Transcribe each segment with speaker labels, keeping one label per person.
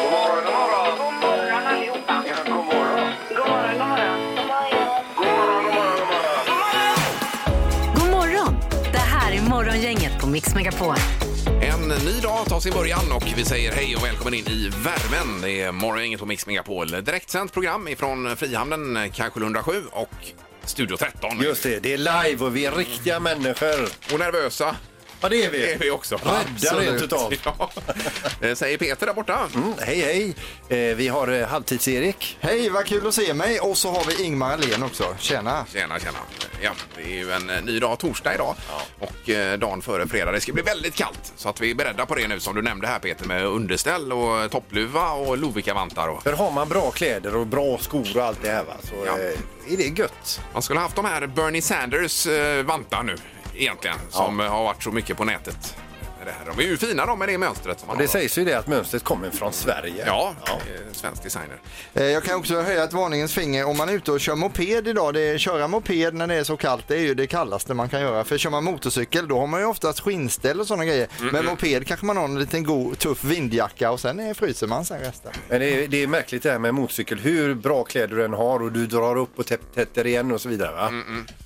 Speaker 1: God morgon, god morgon! God morgon allihopa! Ja, god morgon! God morgon, god morgon! God morgon, god morgon, god morgon!
Speaker 2: God morgon! Det här är Morgongänget på Mix Megapol.
Speaker 3: En ny dag tar sin början och vi säger hej och välkommen in i värmen. Det är morgongänget på Mix Megapol. Direktsänt program ifrån Frihamnen, Kanskjel 107 och Studio 13.
Speaker 4: Just det, det är live och vi är riktiga människor.
Speaker 3: Och nervösa
Speaker 4: Ja, det är vi.
Speaker 3: är vi också.
Speaker 4: Rädda
Speaker 3: Absolut.
Speaker 4: rent utav.
Speaker 3: Ja. Eh, Säger Peter där borta.
Speaker 4: Mm, hej, hej. Eh, vi har eh, Halvtids-Erik.
Speaker 5: Hej, vad kul att se mig! Och så har vi Ingmar Ahlén också. Tjena!
Speaker 3: Tjena, tjena. Ja, det är ju en eh, ny dag, torsdag idag och eh, dagen före fredag. Det ska bli väldigt kallt så att vi är beredda på det nu som du nämnde här Peter med underställ och toppluva och Lovikkavantar. Och...
Speaker 4: För har man bra kläder och bra skor och allt det här va, så
Speaker 3: Ja.
Speaker 4: eh, är det gött.
Speaker 3: Man skulle ha haft de här Bernie Sanders eh, vantar nu egentligen som eh, har varit så mycket på nätet. Det här, de är ju fina de med det mönstret. Som man
Speaker 4: Och det
Speaker 3: har.
Speaker 4: sägs ju det att mönstret kommer från Sverige.
Speaker 3: Ja, eh, svensk designer.
Speaker 5: Eh, Jag kan också höja ett varningens finger om man är ute och kör moped idag. Det är, köra moped när det är så kallt, det är ju det kallaste man kan göra. För kör man motorcykel, då har man ju oftast skinnställ och sådana grejer. Men moped kanske man har en liten god, tuff vindjacka och sen är fryser man sen resten.
Speaker 4: Men det är, det är märkligt det här med motorcykel. Hur bra kläder du än har och du drar upp och täpp- tätter igen och så vidare. Va?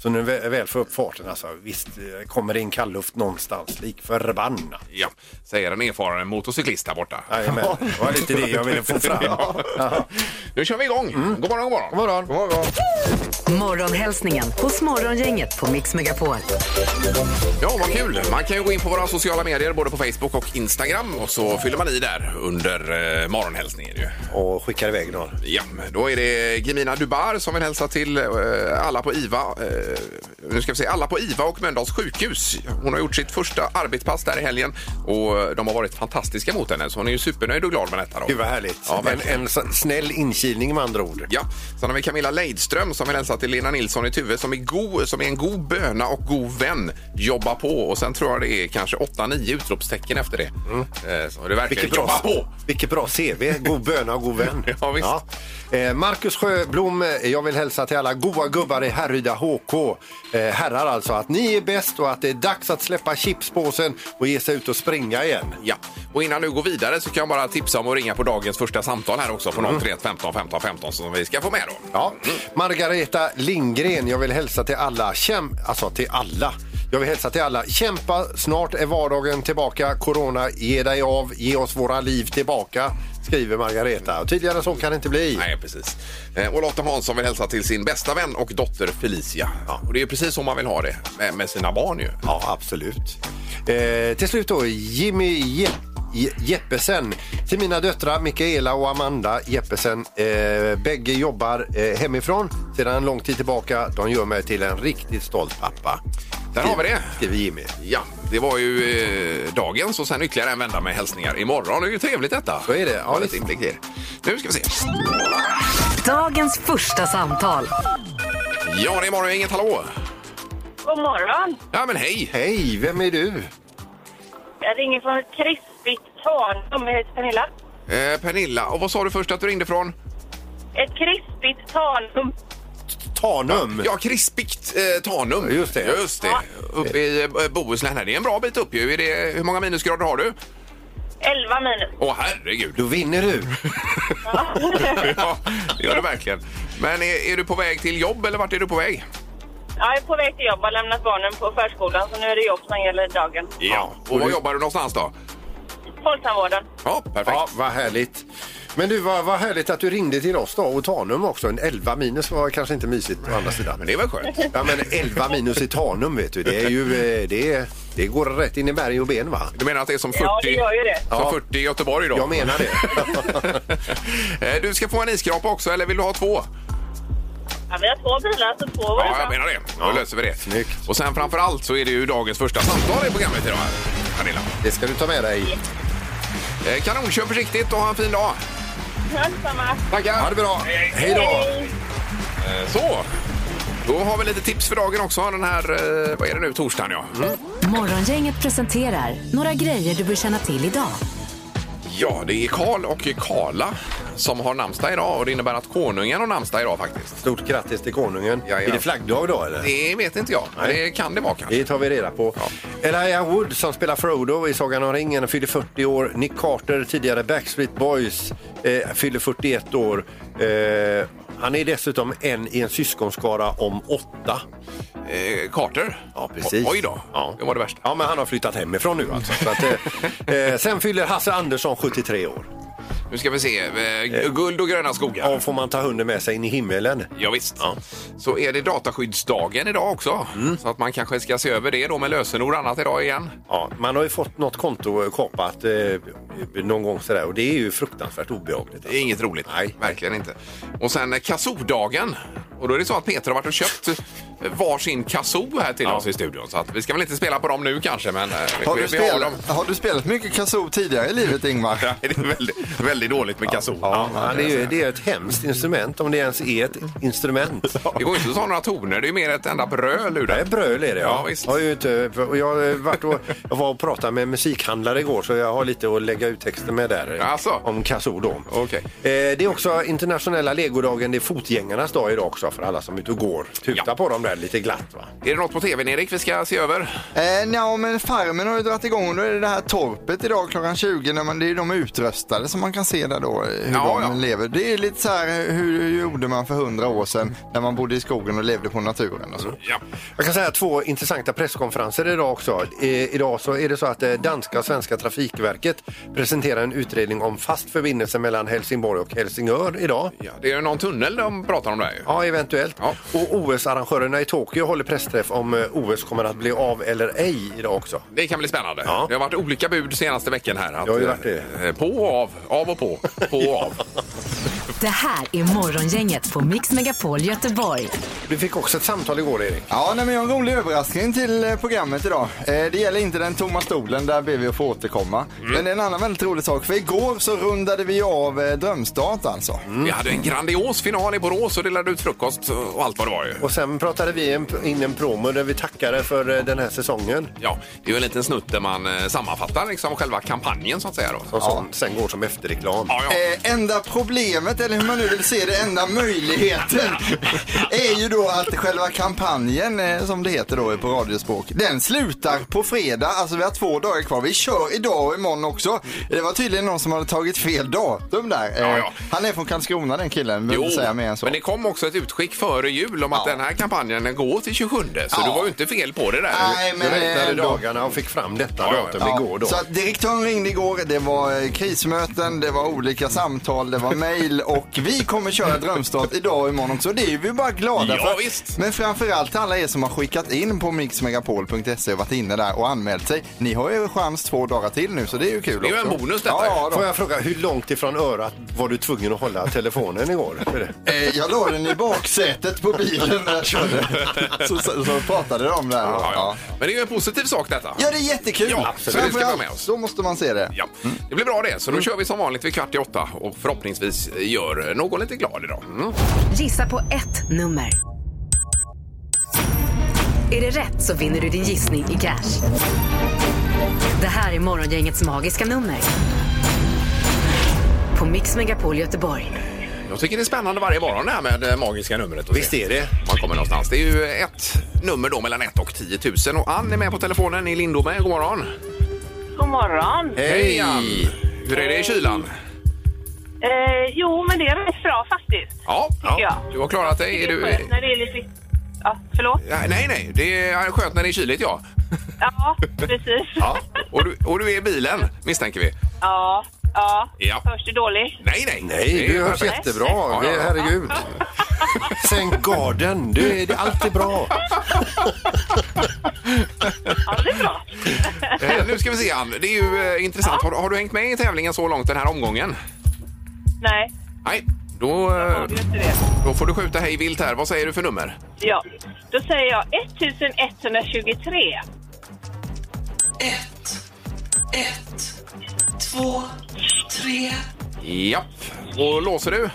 Speaker 4: Så när du vä- väl får upp farten alltså, visst eh, kommer det in kallluft någonstans lik förbannat.
Speaker 3: Ja, säger en erfaren motorcyklist här borta.
Speaker 4: Jajamän, det var lite det jag ville få fram. Ja. Mm.
Speaker 3: Nu kör vi igång. God morgon, god morgon.
Speaker 4: God morgon.
Speaker 5: God morgon.
Speaker 2: Morgonhälsningen hos Morgongänget på Mix Megapol.
Speaker 3: Ja, vad kul. Man kan ju gå in på våra sociala medier, både på Facebook och Instagram och så fyller man i där under eh, morgonhälsningen ju.
Speaker 4: Och skickar iväg någon.
Speaker 3: Ja, då är det Gemina Dubar som vill hälsa till eh, alla på IVA. eh, Nu ska vi se, alla på IVA och Mölndals sjukhus. Hon har gjort sitt första arbetspass där i helgen och eh, de har varit fantastiska mot henne så hon är ju supernöjd och glad med detta. Då.
Speaker 4: Gud vad härligt.
Speaker 3: Ja,
Speaker 4: en,
Speaker 3: verkligen.
Speaker 4: en s- snäll inkilning med andra ord.
Speaker 3: Ja, sen har vi Camilla Leidström som vill hälsa till Lena Nilsson i Tuve som är, god, som är en god böna och god vän. Jobba på och sen tror jag det är kanske 8-9 utropstecken efter det. Eh, Så det är verkligen
Speaker 4: Mm. Vilket
Speaker 3: jobba
Speaker 4: bra,
Speaker 3: på!
Speaker 4: vilket bra CV. God böna och god vän.
Speaker 3: Ja, visst.
Speaker 4: Eh, Marcus Sjöblom, eh, jag vill hälsa till alla goa gubbar i Härryda HK. Eh, herrar alltså, att ni är bäst och att det är dags att släppa chipspåsen och ge sig ut och springa igen.
Speaker 3: Ja, och innan du går vidare så kan jag bara tipsa om att ringa på dagens första samtal här också på
Speaker 4: Mm.
Speaker 3: 031 15 15 15 som vi ska få med då.
Speaker 4: Ja. Margareta Lindgren, jag vill hälsa till alla. Käm... Alltså till alla. Jag vill hälsa till alla. Kämpa, snart är vardagen tillbaka. Corona, ge dig av, ge oss våra liv tillbaka, skriver Margareta. Och tydligare så kan det inte bli.
Speaker 3: Nej, precis. Eh, Och Lotta Hansson vill hälsa till sin bästa vän och dotter Felicia. Och det är ju precis som man vill ha det med, med sina barn ju.
Speaker 4: Ja, absolut. Eh, till slut då, Jimmy Je- Je- Jeppesen. Till mina döttrar Mikaela och Amanda Jeppesen. Eh, bägge jobbar eh, hemifrån sedan en lång tid tillbaka. De gör mig till en riktigt stolt pappa.
Speaker 3: Där har vi det.
Speaker 4: Skriver Jimmy.
Speaker 3: Ja, det var ju eh, dagens och sen ytterligare en vända med hälsningar imorgon. Det är ju trevligt detta.
Speaker 4: Så är det. Ja,
Speaker 3: Väldigt
Speaker 4: visst.
Speaker 3: inblick i det. Nu ska vi se.
Speaker 2: Dagens första samtal.
Speaker 3: Ja, det är morgon. Inget hallå.
Speaker 1: God morgon!
Speaker 3: Ja, men hej.
Speaker 4: Hej, vem är du?
Speaker 1: Jag ringer från ett krispigt Tanum. Jag heter Pernilla.
Speaker 3: Eh, Pernilla, och vad sa du först att du ringde från?
Speaker 1: Ett krispigt Tanum.
Speaker 4: Tanum.
Speaker 3: Ja, krispigt eh, Tanum.
Speaker 4: Just det.
Speaker 3: Just det. Uppe i eh, Bohuslän. här. Det är en bra bit upp ju. Är det, hur många minusgrader har du?
Speaker 1: 11 minus.
Speaker 3: Åh, herregud.
Speaker 4: Då vinner du.
Speaker 3: ja, det gör det verkligen. Men är, är du på väg till jobb eller vart är du på väg?
Speaker 1: Jag är på väg till jobb. Jag har lämnat barnen på förskolan så nu är det jobb som gäller dagen.
Speaker 3: Och var jobbar du någonstans då?
Speaker 1: Folktandvården.
Speaker 3: Ja, perfekt.
Speaker 4: Ja, vad härligt. Men du, vad, vad härligt att du ringde till oss då och Tanum också. En 11 minus var kanske inte mysigt på andra sidan.
Speaker 3: Men det är väl skönt?
Speaker 4: Ja, men 11 minus i Tanum vet du, det är ju, eh, det, är- det går rätt in i berg och ben va?
Speaker 3: Du menar att det är som 40,
Speaker 1: Ja, det gör ju det.
Speaker 3: Som 40 i Göteborg då?
Speaker 4: Jag menar det.
Speaker 3: Eh, du ska få en iskrapa också, eller vill du ha två?
Speaker 1: Ja, vi har två bilar så två var
Speaker 3: Ja,
Speaker 1: det bra.
Speaker 3: jag menar det. Då löser vi det.
Speaker 4: Snyggt.
Speaker 3: Och sen framför allt så är det ju dagens första samtal i programmet idag. här, Pernilla.
Speaker 4: Det ska du ta med dig.
Speaker 3: Eh, Kanon, kör försiktigt och ha en fin dag.
Speaker 1: Ja, detsamma.
Speaker 3: Tackar.
Speaker 4: Ha det bra. Hej då.
Speaker 1: Hej.
Speaker 3: Eh, Så. Då har vi lite tips för dagen också. Den här, eh, vad är det nu, torsdagen ja.
Speaker 4: Mm.
Speaker 2: Morgongänget presenterar några grejer du bör känna till idag.
Speaker 3: Ja, det är Karl och Karla som har namnsdag idag och det innebär att konungen har namnsdag idag faktiskt.
Speaker 4: Stort grattis till konungen.
Speaker 3: Jajamän.
Speaker 4: Är det flaggdag då eller?
Speaker 3: Det vet inte jag, men
Speaker 4: Nej.
Speaker 3: det kan det vara kanske.
Speaker 4: Det tar vi reda på. Elijah Wood som spelar Frodo i Sagan om ringen fyller 40 år. Nick Carter, tidigare Backstreet Boys, eh, fyller 41 år. Eh, han är dessutom en i en syskonskara om åtta.
Speaker 3: Eh, Carter?
Speaker 4: Ja, precis.
Speaker 3: O- Oj då,
Speaker 4: Ja.
Speaker 3: det var det värsta.
Speaker 4: Ja, men han har flyttat hemifrån nu alltså. Så att, eh, eh, sen fyller Hasse Andersson 73 år.
Speaker 3: Nu ska vi se, eh, guld och gröna skogar.
Speaker 4: Och får man ta hunden med sig in i himmelen.
Speaker 3: Ja, visst. Så är det dataskyddsdagen idag också.
Speaker 4: Mm.
Speaker 3: Så att man kanske ska se över det då med lösenord och annat idag igen.
Speaker 4: Ja, man har ju fått något konto kapat eh, någon gång sådär och det är ju fruktansvärt obehagligt.
Speaker 3: Det är inget roligt.
Speaker 4: Nej.
Speaker 3: Verkligen inte. Och sen eh, kazoodagen. Och då är det så att Peter har varit och köpt eh, varsin kazoo här till oss i studion. Så att vi ska väl inte spela på dem nu kanske, men eh, vi-
Speaker 5: Har
Speaker 3: vi,
Speaker 5: du,
Speaker 3: vi har
Speaker 5: spelat, har du spelat mycket kazoo tidigare i livet Ingmar?
Speaker 3: Nej, det är väldigt, väldigt dåligt med kazoo.
Speaker 4: Ja, det, är ju, det är ett hemskt instrument om det ens är ett instrument.
Speaker 3: Det går ju inte att ta några toner, det är ju mer ett enda bröl ur
Speaker 4: Det är
Speaker 3: det.
Speaker 4: bröl är det
Speaker 3: Ja, visst.
Speaker 4: Jag, har ju inte, och jag, har varit och, jag var och pratade med en musikhandlare igår så jag har lite att lägga ut texten med där. eh,
Speaker 3: Alltså?
Speaker 4: Om Kazoo då.
Speaker 3: Okej.
Speaker 4: Eh, det är också internationella legodagen, det är fotgängarnas dag idag också för alla som är ute och går. Tuta
Speaker 3: Ja.
Speaker 4: på dem där lite glatt va.
Speaker 3: Är det något på tvn, Erik, vi ska se över?
Speaker 5: Eh, ja, men Farmen har ju dragit igång och då är det det här torpet idag klockan 20. När man, det är ju de utröstade som man kan se där då eh, hur
Speaker 3: Ja,
Speaker 5: de
Speaker 3: ja.
Speaker 5: lever. Det är lite så här eh, hur, hur gjorde man för hundra år sedan när man bodde i skogen och levde på naturen och så.
Speaker 3: Ja.
Speaker 4: Jag kan säga två intressanta presskonferenser idag också. Eh, idag så är det så att eh, danska och svenska Trafikverket presenterar en utredning om fast förbindelse mellan Helsingborg och Helsingör idag.
Speaker 3: ja. Det är ju någon tunnel de pratar om där ju.
Speaker 4: Ja, eventuellt.
Speaker 3: Ja.
Speaker 4: Och OS-arrangörerna i Tokyo håller pressträff om eh, OS kommer att bli av eller ej idag också.
Speaker 3: Det kan bli spännande.
Speaker 4: Ja.
Speaker 3: Det har varit olika bud senaste veckan här. Att,
Speaker 4: Det har ju varit det.
Speaker 3: eh, På och av, av och på, på och av.
Speaker 2: Det här är Morgongänget på Mix Megapol Göteborg.
Speaker 4: Du fick också ett samtal igår, Erik.
Speaker 5: Ja, nej, men jag har en rolig överraskning till eh, programmet idag. Eh, det gäller inte den tomma stolen, där ber vi att få återkomma. Men det är en annan väldigt rolig sak, för igår så rundade vi av eh, Drömstart alltså.
Speaker 3: Vi hade en grandios final i Borås och delade ut frukost och allt vad det var ju.
Speaker 4: Och sen pratade vi en, in en promo där vi tackade för eh, den här säsongen.
Speaker 3: Ja, det är ju en liten snutt där man eh, sammanfattar liksom själva kampanjen så att säga då.
Speaker 4: Och som sen går som efterreklam.
Speaker 3: Ja, ja.
Speaker 5: Eh, enda problemet, eller hur man nu vill se det, enda möjligheten är ju då att själva kampanjen, eh, som det heter då på radiospråk, den slutar på fredag. Alltså vi har två dagar kvar. Vi kör idag och imorgon också. Det var tydligen någon som hade tagit fel datum där. Eh,
Speaker 3: Ja, ja.
Speaker 5: Han är från Karlskrona den killen, behöver
Speaker 3: Jo,
Speaker 5: inte säga mer än så.
Speaker 3: men det kom också ett utskick före jul om att
Speaker 5: Ja.
Speaker 3: den här kampanjen den går till 27 så
Speaker 5: Ja.
Speaker 3: du var ju inte fel på det där.
Speaker 5: Nej,
Speaker 4: Vi
Speaker 5: men
Speaker 4: räknade
Speaker 5: ändå.
Speaker 4: dagarna och fick fram detta
Speaker 3: Ja, ja,
Speaker 4: datum
Speaker 5: Ja,
Speaker 4: igår. Då.
Speaker 5: Så att direktören ringde igår, det var eh, krismöten, det var olika samtal, det var mejl och vi kommer köra Drömstart idag och imorgon också. Det är vi bara glada
Speaker 3: Ja,
Speaker 5: för.
Speaker 3: visst.
Speaker 5: Men framförallt till alla er som har skickat in på mixmegapol.se och varit inne där och anmält sig. Ni har ju chans två dagar till nu så det är ju kul
Speaker 3: Det är ju en
Speaker 5: också.
Speaker 3: bonus detta.
Speaker 5: Ja,
Speaker 4: Får
Speaker 5: då.
Speaker 4: jag fråga, hur långt ifrån örat var du tvungen att hålla telefonen igår? För det-
Speaker 5: Eh, Jag la den i baksätet på bilen när jag körde. Så, så, så pratade de där.
Speaker 3: Ja, ja. Men det är ju en positiv sak detta.
Speaker 5: Ja, det är jättekul.
Speaker 3: Ja, absolut. Det ska vi ha med
Speaker 5: Framförallt,
Speaker 3: oss.
Speaker 5: Då måste man se det.
Speaker 3: Ja, det blir bra det. Så
Speaker 5: Mm.
Speaker 3: då kör vi som vanligt vid kvart i åtta och förhoppningsvis gör någon lite glad idag. Mm.
Speaker 2: Gissa på ett nummer. Är det rätt så vinner du din gissning i cash. Det här är Morgongängets magiska nummer. På Mix Megapol Göteborg.
Speaker 3: Jag tycker det är spännande varje morgon det här med det magiska numret. och
Speaker 4: Visst
Speaker 3: se
Speaker 4: är det.
Speaker 3: Man kommer någonstans. Det är ju ett nummer då mellan 1 och 10 000 och Ann är med på telefonen i Lindome. God morgon!
Speaker 6: God morgon.
Speaker 3: Hej Ann! Hur är det i kylan?
Speaker 6: Eh, jo, men det är rätt bra faktiskt.
Speaker 3: Ja, ja.
Speaker 6: jag.
Speaker 3: du har klarat dig. Är
Speaker 6: det är
Speaker 3: du...
Speaker 6: skönt när det är lite... Ja, förlåt.
Speaker 3: Ja, Nej, nej, det är skönt när det är kyligt ja.
Speaker 6: Ja, precis.
Speaker 3: ja. Och, du, och du är i bilen misstänker vi.
Speaker 6: ja, ja.
Speaker 3: Ja.
Speaker 6: Hörs det dåligt?
Speaker 3: Nej, nej.
Speaker 4: Nej,
Speaker 3: är
Speaker 4: du hörs
Speaker 3: perfekt.
Speaker 4: jättebra.
Speaker 3: Ja,
Speaker 4: Det
Speaker 3: ja,
Speaker 4: är,
Speaker 3: ja.
Speaker 4: herregud. Sänk garden. Du, är- det, allt är bra.
Speaker 6: Ja, det är bra.
Speaker 3: Eh, Nu ska vi se Ann, det är ju eh, intressant. Har, har du hängt med i tävlingen så långt den här omgången?
Speaker 6: Nej,
Speaker 3: Nej, då, eh,
Speaker 6: jag gjorde inte det.
Speaker 3: då får du skjuta hej vilt här. Vad säger du för nummer?
Speaker 6: Ja. Då säger jag 1123.
Speaker 7: Ett, ett, två, tre.
Speaker 3: Japp. Och låser du?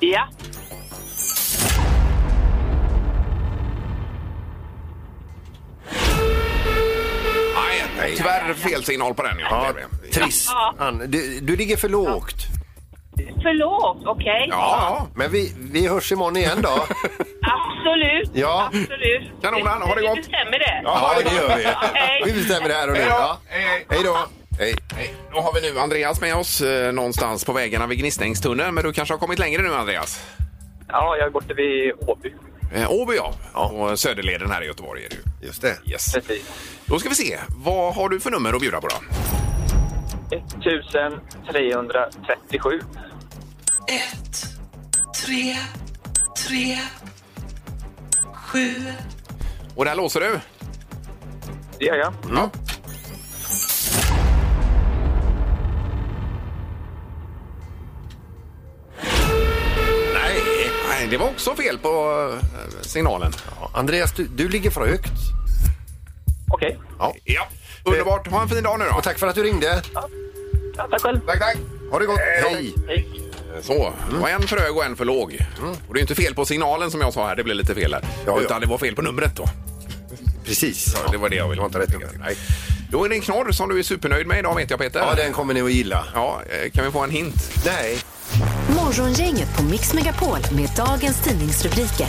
Speaker 6: Ja.
Speaker 3: nej. Tyvärr fel signal på den. Ja,
Speaker 4: Ja,
Speaker 3: det är det.
Speaker 4: trist.
Speaker 6: Ja.
Speaker 4: Ann, du, du ligger för lågt.
Speaker 6: För lågt, okej.
Speaker 3: ja.
Speaker 4: Men vi, vi hörs imorgon igen då.
Speaker 6: Absolut.
Speaker 4: Ja.
Speaker 6: Absolut.
Speaker 3: Kanonan, ha det
Speaker 6: Vi- vi
Speaker 3: gott.
Speaker 6: bestämmer det.
Speaker 4: Ja, det gör vi.
Speaker 6: Hej.
Speaker 4: Vi bestämmer det här och nu.
Speaker 3: Hej då.
Speaker 4: Ja.
Speaker 3: Hej.
Speaker 4: Hej då. Hej.
Speaker 3: Nej, Då har vi nu Andreas med oss eh, någonstans på vägarna vid Gnisningstunneln. Men du kanske har kommit längre nu, Andreas?
Speaker 8: Ja, jag är borta vid Åby.
Speaker 3: Eh, Åby, ja. Och Söderleden här i Göteborg är det ju.
Speaker 4: Just det.
Speaker 3: Yes.
Speaker 8: Precis.
Speaker 3: Då ska vi se. Vad har du för nummer att bjuda på då?
Speaker 8: 1337.
Speaker 7: Ett, tre, tre, sju.
Speaker 3: Och där låser du?
Speaker 8: Det gör jag.
Speaker 3: Ja. Nej, nej, det var också fel på eh, signalen.
Speaker 4: Ja, Andreas, du, du ligger för högt.
Speaker 8: Okej.
Speaker 4: Ja.
Speaker 3: Ja, underbart. Ha en fin dag nu då.
Speaker 4: Och tack för att du ringde.
Speaker 8: Ja, tack själv.
Speaker 3: tack. tack.
Speaker 4: Ha det gott.
Speaker 3: Hej.
Speaker 4: Hej.
Speaker 8: Hej.
Speaker 3: Så, och en för hög och en för låg. Mm. Och det är inte fel på signalen som jag sa här, det blev lite fel här.
Speaker 4: Ja, ja.
Speaker 3: Utan det var fel på numret då.
Speaker 4: Precis.
Speaker 3: Ja, det var det jag ville
Speaker 4: Det var inte rätt nummer.
Speaker 3: Nej. Då är det en knorr som du är supernöjd med idag vet jag Peter.
Speaker 4: Ja, den kommer ni att gilla.
Speaker 3: Ja, eh, kan vi få en hint?
Speaker 4: Nej.
Speaker 2: Morgongänget på Mix Megapol med dagens tidningsrubriker.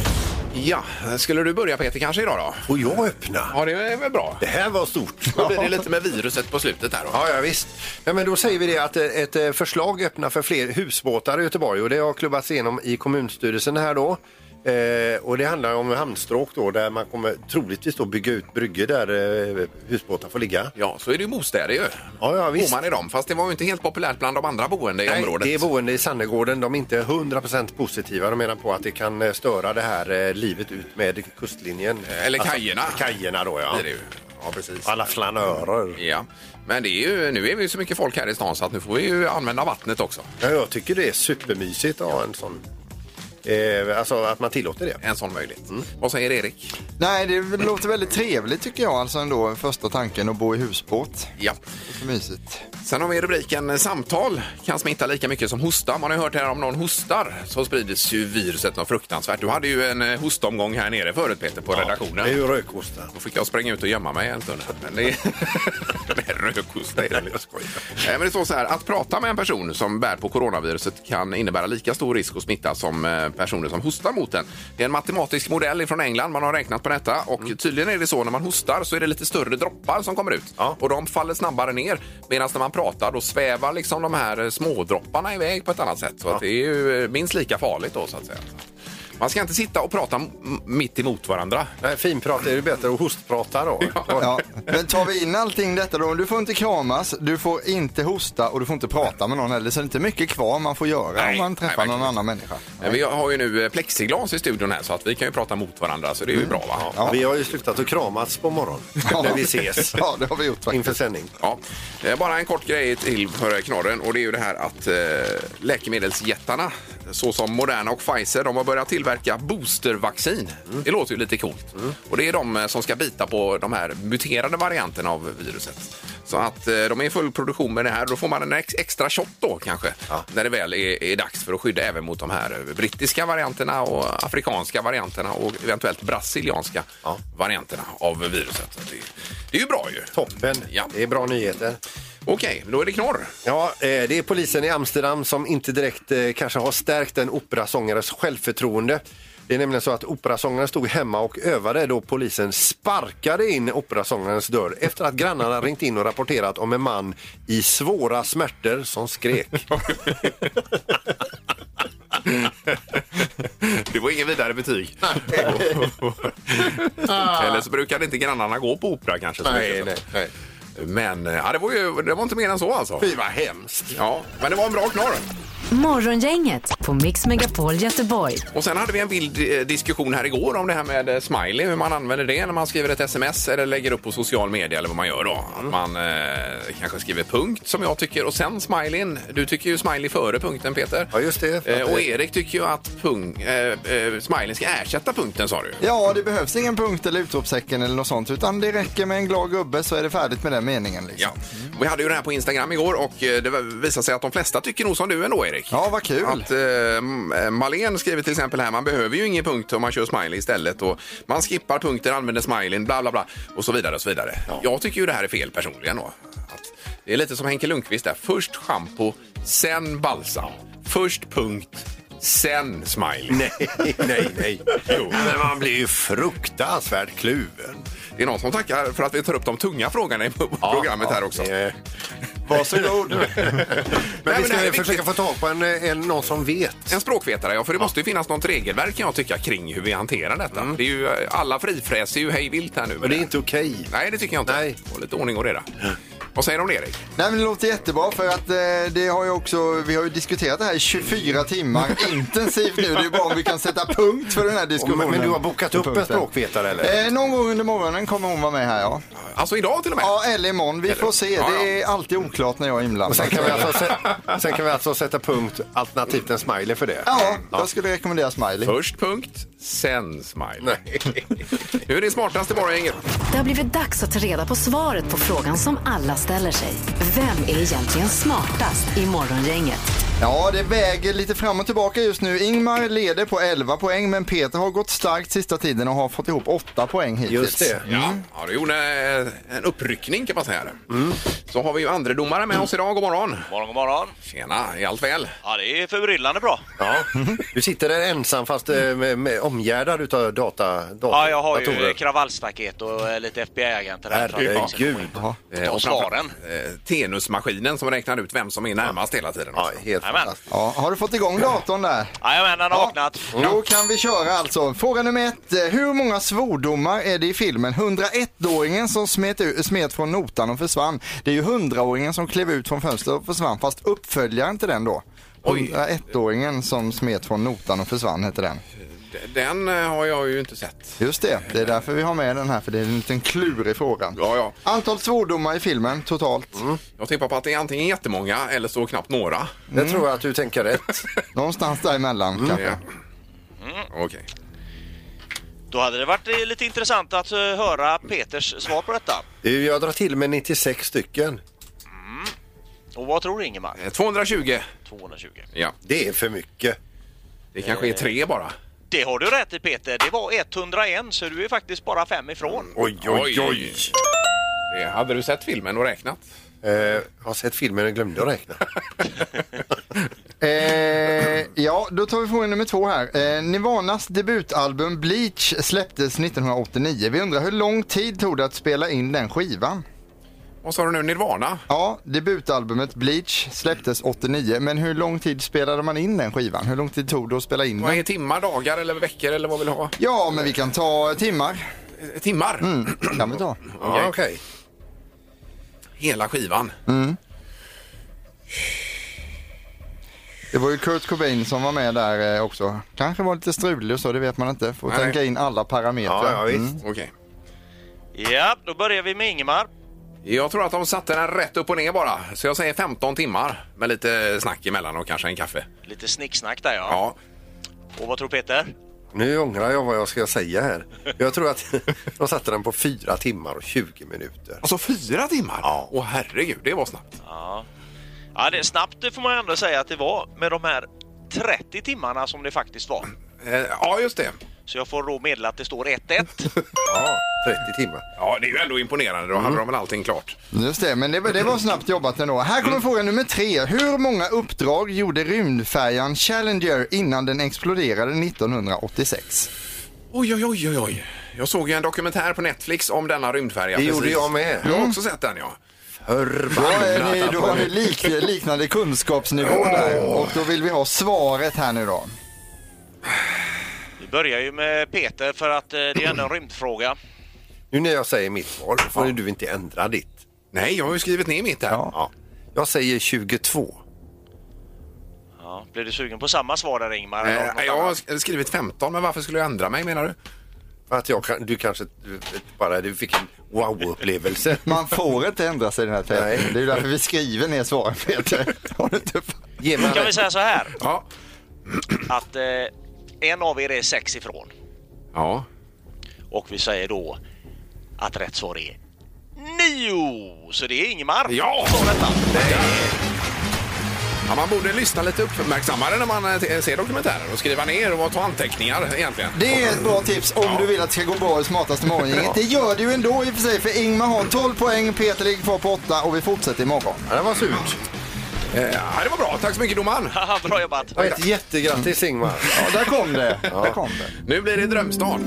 Speaker 3: Ja, skulle du börja Peter kanske idag då?
Speaker 4: Får jag öppna?
Speaker 3: Ja, det är väl bra.
Speaker 4: Det här var stort.
Speaker 3: Då blir det lite med viruset på slutet där då.
Speaker 4: Ja, ja visst. Ja, men då säger vi det att eh, ett eh, förslag öppnar för fler husbåtar i Göteborg och det har klubbats igenom i kommunstyrelsen här då. Eh, och det handlar om hamnstråk då där man kommer troligtvis då bygga ut bryggor där eh, husbåtar får ligga.
Speaker 3: Ja, så är det ju bostäder ju.
Speaker 4: Ja, ja visst.
Speaker 3: Bor man i dem, fast det var ju inte helt populärt bland de andra boende i
Speaker 4: Nej,
Speaker 3: området.
Speaker 4: det är boende i Sannegården. De är inte 100% positiva. De menar på att det kan eh, störa det här eh, livet ut med kustlinjen. Alltså,
Speaker 3: Eller kajerna.
Speaker 4: kajerna då, ja.
Speaker 3: Det är det ju. Ja, precis.
Speaker 4: Alla flanörer.
Speaker 3: Ja, men det är ju, nu är vi ju så mycket folk här i stan så att nu får vi ju använda vattnet också.
Speaker 4: Ja, jag tycker det är supermysigt att ha en sån... Eh, alltså att man tillåter det.
Speaker 3: En sån möjlighet.
Speaker 4: Mm.
Speaker 3: Vad säger Erik?
Speaker 5: Nej, det låter väldigt trevligt tycker jag alltså ändå. Första tanken att bo i husbåt.
Speaker 3: Ja.
Speaker 5: Så mysigt.
Speaker 3: Sen har vi rubriken eh, Samtal kan smitta lika mycket som hosta. Man har ju hört här om någon hostar så sprids ju viruset något fruktansvärt. Du hade ju en eh, hostomgång här nere förut Peter på redaktionen.
Speaker 4: Det är ju rökostar.
Speaker 3: Då fick jag spränga ut och gömma mig en stund. Men det är, det är rökosta. i den. Jag skojar. Nej, Men det står så här, att prata med en person som bär på coronaviruset kan innebära lika stor risk att smitta som eh, personer som hostar mot en. Det är en matematisk modell från England, man har räknat på detta och tydligen är det så när man hostar så är det lite större droppar som kommer ut
Speaker 4: Ja.
Speaker 3: och de faller snabbare ner medan när man pratar då svävar liksom de här eh, smådropparna iväg på ett annat sätt. Så att det är ju eh, minst lika farligt då så att säga. Man ska inte sitta och prata m- mitt emot varandra.
Speaker 4: Nej, finprat är ju bättre att hostprata då.
Speaker 5: Ja. Men tar vi in allting detta då? Du får inte kramas, du får inte hosta och du får inte prata med någon heller. Så det är inte mycket kvar man får göra
Speaker 3: Nej,
Speaker 5: om man
Speaker 3: nej,
Speaker 5: träffar någon
Speaker 3: verkligen inte.
Speaker 5: annan människa.
Speaker 3: Men vi har ju nu eh, plexiglas i studion här så att vi kan ju prata mot varandra så det är ju bra va?
Speaker 4: Ja. Vi har ju slutat att kramas på morgonen när vi ses
Speaker 5: Ja, det har vi gjort faktiskt.
Speaker 4: inför sändning.
Speaker 3: Ja. Eh, Bara en kort grej till för knorren och det är ju det här att eh, läkemedelsjättarna såsom Moderna och Pfizer de har börjat tillverka boostervaccin. Det låter ju lite coolt. Och det är de eh, som ska bita på de här muterade varianterna av viruset. Så att eh, de är i full produktion med det här. Då får man en ex extra shot då kanske när det väl är, är dags för att skydda även mot de här eh, brittiska varianterna och afrikanska varianterna och eventuellt brasilianska varianterna av viruset. Så Det, det är ju bra ju.
Speaker 4: Toppen.
Speaker 3: Ja.
Speaker 4: Det är bra nyheter.
Speaker 3: Okej, då är det knorr.
Speaker 4: Ja, eh, det är polisen i Amsterdam som inte direkt eh, kanske har stärkt en operasångares självförtroende. Det är nämligen så att operasångaren stod hemma och övade då polisen sparkade in operasångarens dörr efter att grannarna ringt in och rapporterat om en man i svåra smärtor som skrek.
Speaker 3: Det var ingen vidare betyg. Eller så brukade inte grannarna gå på opera kanske. så mycket.
Speaker 4: Ah. nej.
Speaker 3: Men eh, ja, det, var ju, det var inte mer än så alltså.
Speaker 4: Fy vad hemskt.
Speaker 3: Ja, men det var en bra knorr.
Speaker 2: Morgongänget på Mix Megapol Göteborg.
Speaker 3: Och sen hade vi en vild eh, diskussion här igår om det här med eh, smiley, hur man använder det när man skriver ett sms eller lägger upp på social media eller vad man gör då.
Speaker 4: Mm.
Speaker 3: Att man eh, kanske skriver punkt som jag tycker och sen smileyn. Du tycker ju smiley före punkten Peter.
Speaker 4: Ja, just det. För att
Speaker 3: Eh, och
Speaker 4: det-
Speaker 3: Erik tycker ju att pung, eh, eh, smileyn ska ersätta punkten sa du.
Speaker 5: Ja, det behövs ingen punkt eller utropstecken eller något sånt utan det räcker med en glad gubbe så är det färdigt med den meningen. Liksom.
Speaker 3: Ja. Vi hade ju det här på Instagram igår och eh, det var- visade sig att de flesta tycker nog som du ändå, Erik. Erik.
Speaker 5: Ja, vad kul.
Speaker 3: Att, eh, Malén skriver till exempel här, man behöver ju ingen punkt om man kör smiley istället. Och man skippar punkter, använder smileyn, bla bla bla och så vidare. Och så vidare. Jag tycker ju det här är fel personligen. Då. Att det är lite som Henke Lundqvist där, först shampoo, sen balsam, först punkt, sen smiley.
Speaker 4: Nej, nej, nej. Jo. Men man blir ju fruktansvärt kluven.
Speaker 3: Det är någon som tackar för att vi tar upp de tunga frågorna i programmet här också.
Speaker 4: Eh, Varsågod. men
Speaker 3: men
Speaker 4: vi
Speaker 3: det
Speaker 4: ska
Speaker 3: här är
Speaker 4: försöka
Speaker 3: viktigt.
Speaker 4: få tag på en, eh, en, någon som vet.
Speaker 3: En språkvetare, ja. För det måste ju finnas något regelverk kan jag tycka kring hur vi hanterar detta. Det är ju, alla frifräser ju hej vilt här nu.
Speaker 4: Mm. Men det är inte okej.
Speaker 3: Nej, det tycker jag inte.
Speaker 4: Nej.
Speaker 3: Och lite ordning och reda. Vad säger du om det, Erik?
Speaker 5: Nej men det låter jättebra för att eh, det har ju också, vi har ju diskuterat det här i 24 timmar intensivt nu. Det är ju bra om vi kan sätta punkt för den här diskussionen.
Speaker 4: Men- men du har bokat upp en språkvetare, eller?
Speaker 5: Eh, någon gång under morgonen kommer hon vara med här ja.
Speaker 3: Alltså idag till och med?
Speaker 5: Ja eller imorgon, vi får se.
Speaker 3: Ja, ja.
Speaker 5: Det är alltid oklart när jag är
Speaker 4: Och
Speaker 5: inblandad.
Speaker 4: sen kan, vi alltså sä- sen kan vi alltså sätta punkt alternativt en smiley för det.
Speaker 5: Ja, jag skulle rekommendera Smiley.
Speaker 3: Först punkt, sen smile.
Speaker 4: Nej.
Speaker 3: Nu är det smartaste morgongänget.
Speaker 2: Det har blivit dags att ta reda på svaret på frågan som alla ställer sig. Vem är egentligen smartast i Morgongänget?
Speaker 5: Ja, det väger lite fram och tillbaka just nu. Ingmar leder på 11 poäng, men Peter har gått starkt sista tiden och har fått ihop 8 poäng hittills.
Speaker 4: Just det. Mm.
Speaker 3: Ja, ja, du gjorde eh, en uppryckning kan man säga. Mm. Så har vi ju andra domare med oss idag. God morgon!
Speaker 8: morgon, god morgon.
Speaker 3: Tjena, är allt väl?
Speaker 8: Ja, det är förbryllande bra.
Speaker 4: Ja. Du sitter där ensam fast eh, med, med, omgärdad utav data, data,
Speaker 8: Ja, jag har ju
Speaker 4: datorer.
Speaker 8: eh, kravallstaket och eh, lite FBI-agenter där.
Speaker 4: Herregud.
Speaker 3: Eh,
Speaker 8: Och
Speaker 3: framför-
Speaker 8: svaren.
Speaker 3: eh, Tenusmaskinen som räknar ut vem som är närmast hela tiden.
Speaker 4: Ja,
Speaker 3: också.
Speaker 4: helt
Speaker 8: Jajamän.
Speaker 4: fantastiskt. Mm.
Speaker 5: Ja, har du fått igång datorn där?
Speaker 8: Jajamän, den har vaknat.
Speaker 3: Mm.
Speaker 5: Då kan vi köra alltså. Fråga nummer ett. eh, Hur många svordomar är det i filmen 101-åringen som smet, ut, smet från notan och försvann? Det är ju 100-åringen som klev ut från fönstret och försvann, fast uppföljaren till den då.
Speaker 3: Oj.
Speaker 5: 101-åringen som smet från notan och försvann heter den.
Speaker 3: D- Den eh, har jag ju inte sett.
Speaker 5: Just det, det är därför vi har med den här, för det är en liten klurig fråga.
Speaker 3: Ja, ja. Mm.
Speaker 5: Antal svordomar i filmen totalt.
Speaker 3: Jag tippar på att det är antingen jättemånga eller så knappt några.
Speaker 4: Jag tror att du tänker rätt.
Speaker 5: Någonstans däremellan kanske.
Speaker 3: Mm. Ja. Okej.
Speaker 8: Då hade det varit eh, lite intressant att eh, höra Peters svar på detta.
Speaker 4: Du, Eh, Jag drar till med 96 stycken.
Speaker 8: Mm. Och vad tror du Ingemar?
Speaker 3: Eh, 220.
Speaker 8: 220.
Speaker 3: Ja.
Speaker 4: Det är för mycket.
Speaker 3: Det kanske är tre bara.
Speaker 8: Det har du rätt i Peter, det var 101 så du är faktiskt bara fem ifrån.
Speaker 4: Mm. Oj, oj, oj.
Speaker 3: Det hade du sett filmen och räknat?
Speaker 4: Eh, jag har sett filmen och glömde att räkna.
Speaker 5: Eh, ja, då tar vi fråga nummer två här. Eh, Nirvanas debutalbum Bleach släpptes 1989. Vi undrar hur lång tid tog det att spela in den skivan?
Speaker 3: Vad sa du nu? Nirvana?
Speaker 5: Ja, debutalbumet Bleach släpptes 89, men hur lång tid spelade man in den skivan? Hur lång tid tog det att spela in
Speaker 3: Vad
Speaker 5: den?
Speaker 3: är timmar, dagar eller veckor eller vad vill du ha?
Speaker 5: Ja, men vi kan ta timmar.
Speaker 3: Eh, Timmar?
Speaker 5: Kan vi ta.
Speaker 4: Mm. Ja, okej. Mm.
Speaker 3: Hela skivan?
Speaker 5: Det var ju Kurt Cobain som var med där eh, också. Kanske var lite strulig och så, det vet man inte. Får
Speaker 3: Nej.
Speaker 5: tänka in alla
Speaker 4: Ja, ja,
Speaker 5: parametrar. Mm.
Speaker 4: visst.
Speaker 3: Mm. Okej.
Speaker 8: Ja, då börjar vi med Ingemar.
Speaker 3: Jag tror att de satte den rätt upp och ner bara. Så jag säger 15 timmar med lite snack emellan och kanske en kaffe.
Speaker 8: Lite snicksnack där ja.
Speaker 3: Ja.
Speaker 8: Och vad tror Peter?
Speaker 4: Nu ångrar jag vad jag ska säga här. Jag tror att de satte den på 4 timmar och 20 minuter.
Speaker 3: Alltså fyra timmar? Ja. Åh herregud, det var snabbt.
Speaker 8: Ja, det är snabbt det får man ju ändå säga att det var med de här 30 timmarna som det faktiskt var.
Speaker 3: Eh, Ja, just det.
Speaker 8: Så jag får då meddela att det står 1-1.
Speaker 4: Ja, 30 timmar.
Speaker 3: Ja, det är ju ändå imponerande. Då
Speaker 5: Mm.
Speaker 3: hade de väl allting klart.
Speaker 5: Just det, men det, var- det var snabbt jobbat ändå. Här kommer fråga nummer tre. Hur många uppdrag gjorde rymdfärjan Challenger innan den exploderade 1986?
Speaker 3: Oj, oj, oj, oj, oj. Jag såg ju en dokumentär på Netflix om denna rymdfärja.
Speaker 4: Det gjorde jag med.
Speaker 3: Jag
Speaker 5: Mm.
Speaker 3: har också sett den, ja.
Speaker 5: Då, är
Speaker 4: Förbannat.
Speaker 5: ni, då har ni lik, liknande kunskapsnivå där och då vill vi ha svaret här nu då.
Speaker 8: Vi börjar ju med Peter för att eh, det är ändå en rymdfråga.
Speaker 4: Nu när jag säger mitt svar får du inte ändra ditt.
Speaker 3: Nej, jag har ju skrivit ner mitt här.
Speaker 4: Ja. Jag säger 22.
Speaker 8: Ja, blir du sugen på samma svar där Ingmar? Eller har du
Speaker 3: Eh,
Speaker 8: något
Speaker 3: jag har
Speaker 8: annat?
Speaker 3: sk- skrivit 15, men varför skulle jag ändra mig menar du?
Speaker 4: För att jag kan, du kanske du, bara du fick en wow-upplevelse.
Speaker 5: Man får inte ändra sig i den här
Speaker 4: Nej.
Speaker 5: tävlingen. Det är ju därför vi skriver ner svaren Peter. Har du inte...
Speaker 4: Ge mig
Speaker 8: Då kan vi säga så här
Speaker 3: Ja.
Speaker 8: att eh, en av er är sex ifrån
Speaker 3: Ja.
Speaker 8: och vi säger då att rätt svar är nio! Så det är Ingemar
Speaker 3: Ja!
Speaker 8: som får detta.
Speaker 3: Ja, man borde lyssna lite uppmärksammare när man eh, ser dokumentärer och skriva ner och ta anteckningar egentligen.
Speaker 5: Det är ett bra tips om du vill att det ska gå bra i smartaste morgongänget. Det gör det ju ändå i och för sig för Ingmar har 12 poäng, Peter ligger kvar på 8 och vi fortsätter imorgon.
Speaker 4: Ja, det var surt.
Speaker 3: Eh, Ja, det var bra. Tack så mycket domaren.
Speaker 8: Haha, Bra jobbat!
Speaker 4: Och ett jättegrattis Ingmar.
Speaker 5: Ja, där kom det. Där kom det.
Speaker 3: Nu blir det drömstart.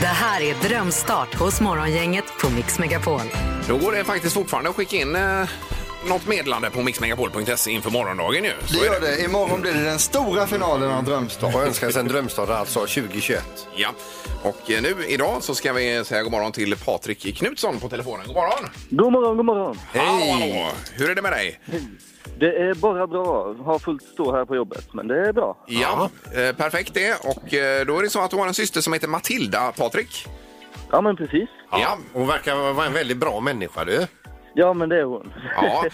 Speaker 2: Det här är Drömstart hos Morgongänget på Mix Megapol.
Speaker 3: Då går det faktiskt fortfarande att skicka in eh, något meddelande på mixmegapol.se inför morgondagen ju. Så
Speaker 5: Det
Speaker 3: är
Speaker 5: gör det. Imorgon blir det den stora finalen av Drömstart.
Speaker 4: Och önskar sig en drömstad alltså 2021.
Speaker 3: Ja. Och eh, nu idag så ska vi säga god morgon till Patrik Knutsson på telefonen. God morgon!
Speaker 1: God morgon, god morgon.
Speaker 3: Hallå, hallå! Hur är det med dig?
Speaker 1: Det är bara bra. Har fullt stå här på jobbet, men det är bra.
Speaker 3: Ja, eh, perfekt det. Och eh, då är det så att du har en syster som heter Matilda, Patrik.
Speaker 1: Ja, men precis.
Speaker 3: Ja.
Speaker 4: Hon verkar vara en väldigt bra människa du.
Speaker 1: Ja, men det är hon.
Speaker 3: Ja.